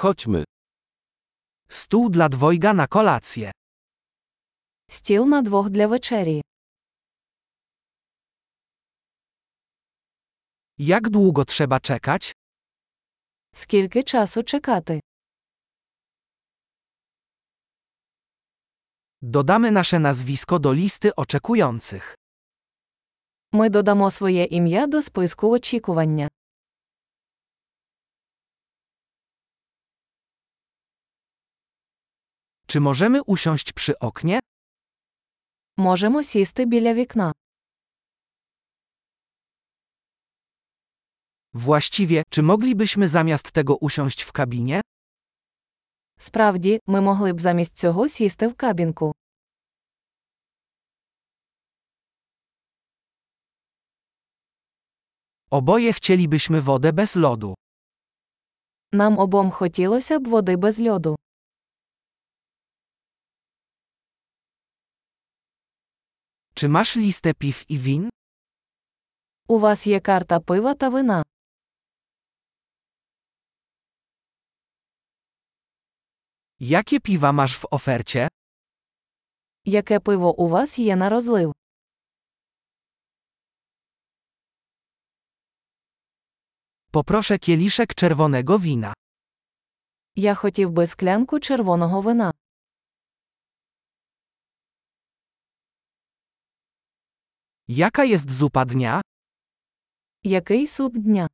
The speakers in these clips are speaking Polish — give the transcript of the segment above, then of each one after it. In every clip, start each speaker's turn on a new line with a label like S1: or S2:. S1: Chodźmy. Stół dla dwojga na kolację.
S2: Стіл на двох для вечері.
S1: Jak długo trzeba czekać?
S2: Скільки часу чекати?
S1: Dodamy nasze nazwisko do listy oczekujących.
S2: Ми додамо своє ім'я до списку очікування.
S1: Czy możemy usiąść przy oknie?
S2: Можемо сісти біля вікна.
S1: Właściwie, czy moglibyśmy zamiast tego usiąść w kabinie?
S2: Справді, ми могли б замість цього сісти в кабінку.
S1: Oboje chcielibyśmy wodę bez lodu.
S2: Нам обом хотілося б води без льоду.
S1: Czy masz listę piw i win?
S2: У вас є карта пива та вина.
S1: Jakie piwa masz w ofercie?
S2: Яке пиво у вас є на розлив?
S1: Poproszę kieliszek czerwonego wina.
S2: Я хотів би склянку червоного вина.
S1: Jaka jest zupa dnia?
S2: Який суп дня?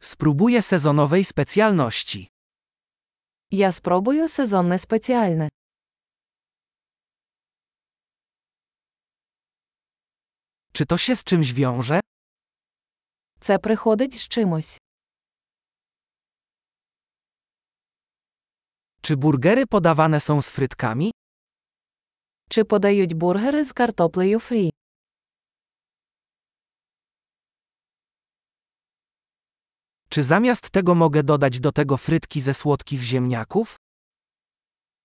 S1: Spróbuję sezonowej specjalności.
S2: Я спробую сезонне спеціальне.
S1: Czy to się z czymś wiąże?
S2: Це приходить з чимось.
S1: Czy burgery podawane są z frytkami?
S2: Чи подають бургери з картоплею фрі?
S1: Czy zamiast tego mogę dodać do tego frytki ze słodkich ziemniaków?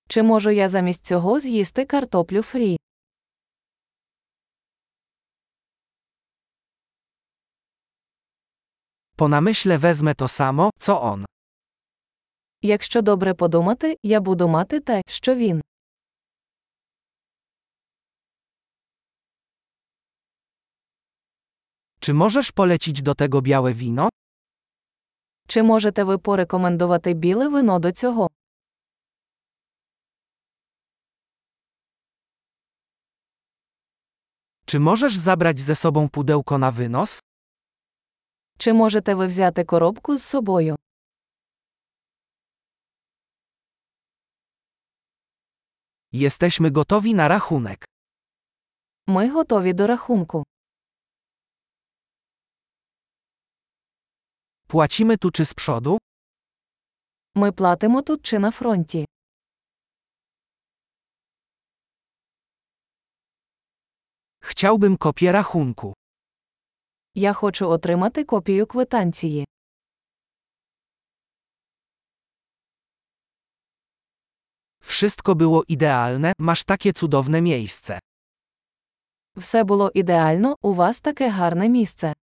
S2: Чи можу я замість цього з'їсти картоплю фрі?
S1: Po namyśle wezmę to samo, co on.
S2: Якщо добре подумати, я буду мати те, що він.
S1: Czy możesz polecić do tego białe wino?
S2: Чи можете ви порекомендувати біле вино до цього?
S1: Czy możesz zabrać ze sobą pudełko na wynos?
S2: Чи можете ви взяти коробку з собою?
S1: Jesteśmy gotowi na rachunek.
S2: Ми готові до рахунку.
S1: Płacimy tu czy z przodu?
S2: Ми платимо тут чи на фронті.
S1: Chciałbym kopię rachunku.
S2: Я хочу отримати копію квитанції.
S1: Wszystko było idealne, masz takie cudowne miejsce.
S2: Все було ідеально, у вас таке гарне місце.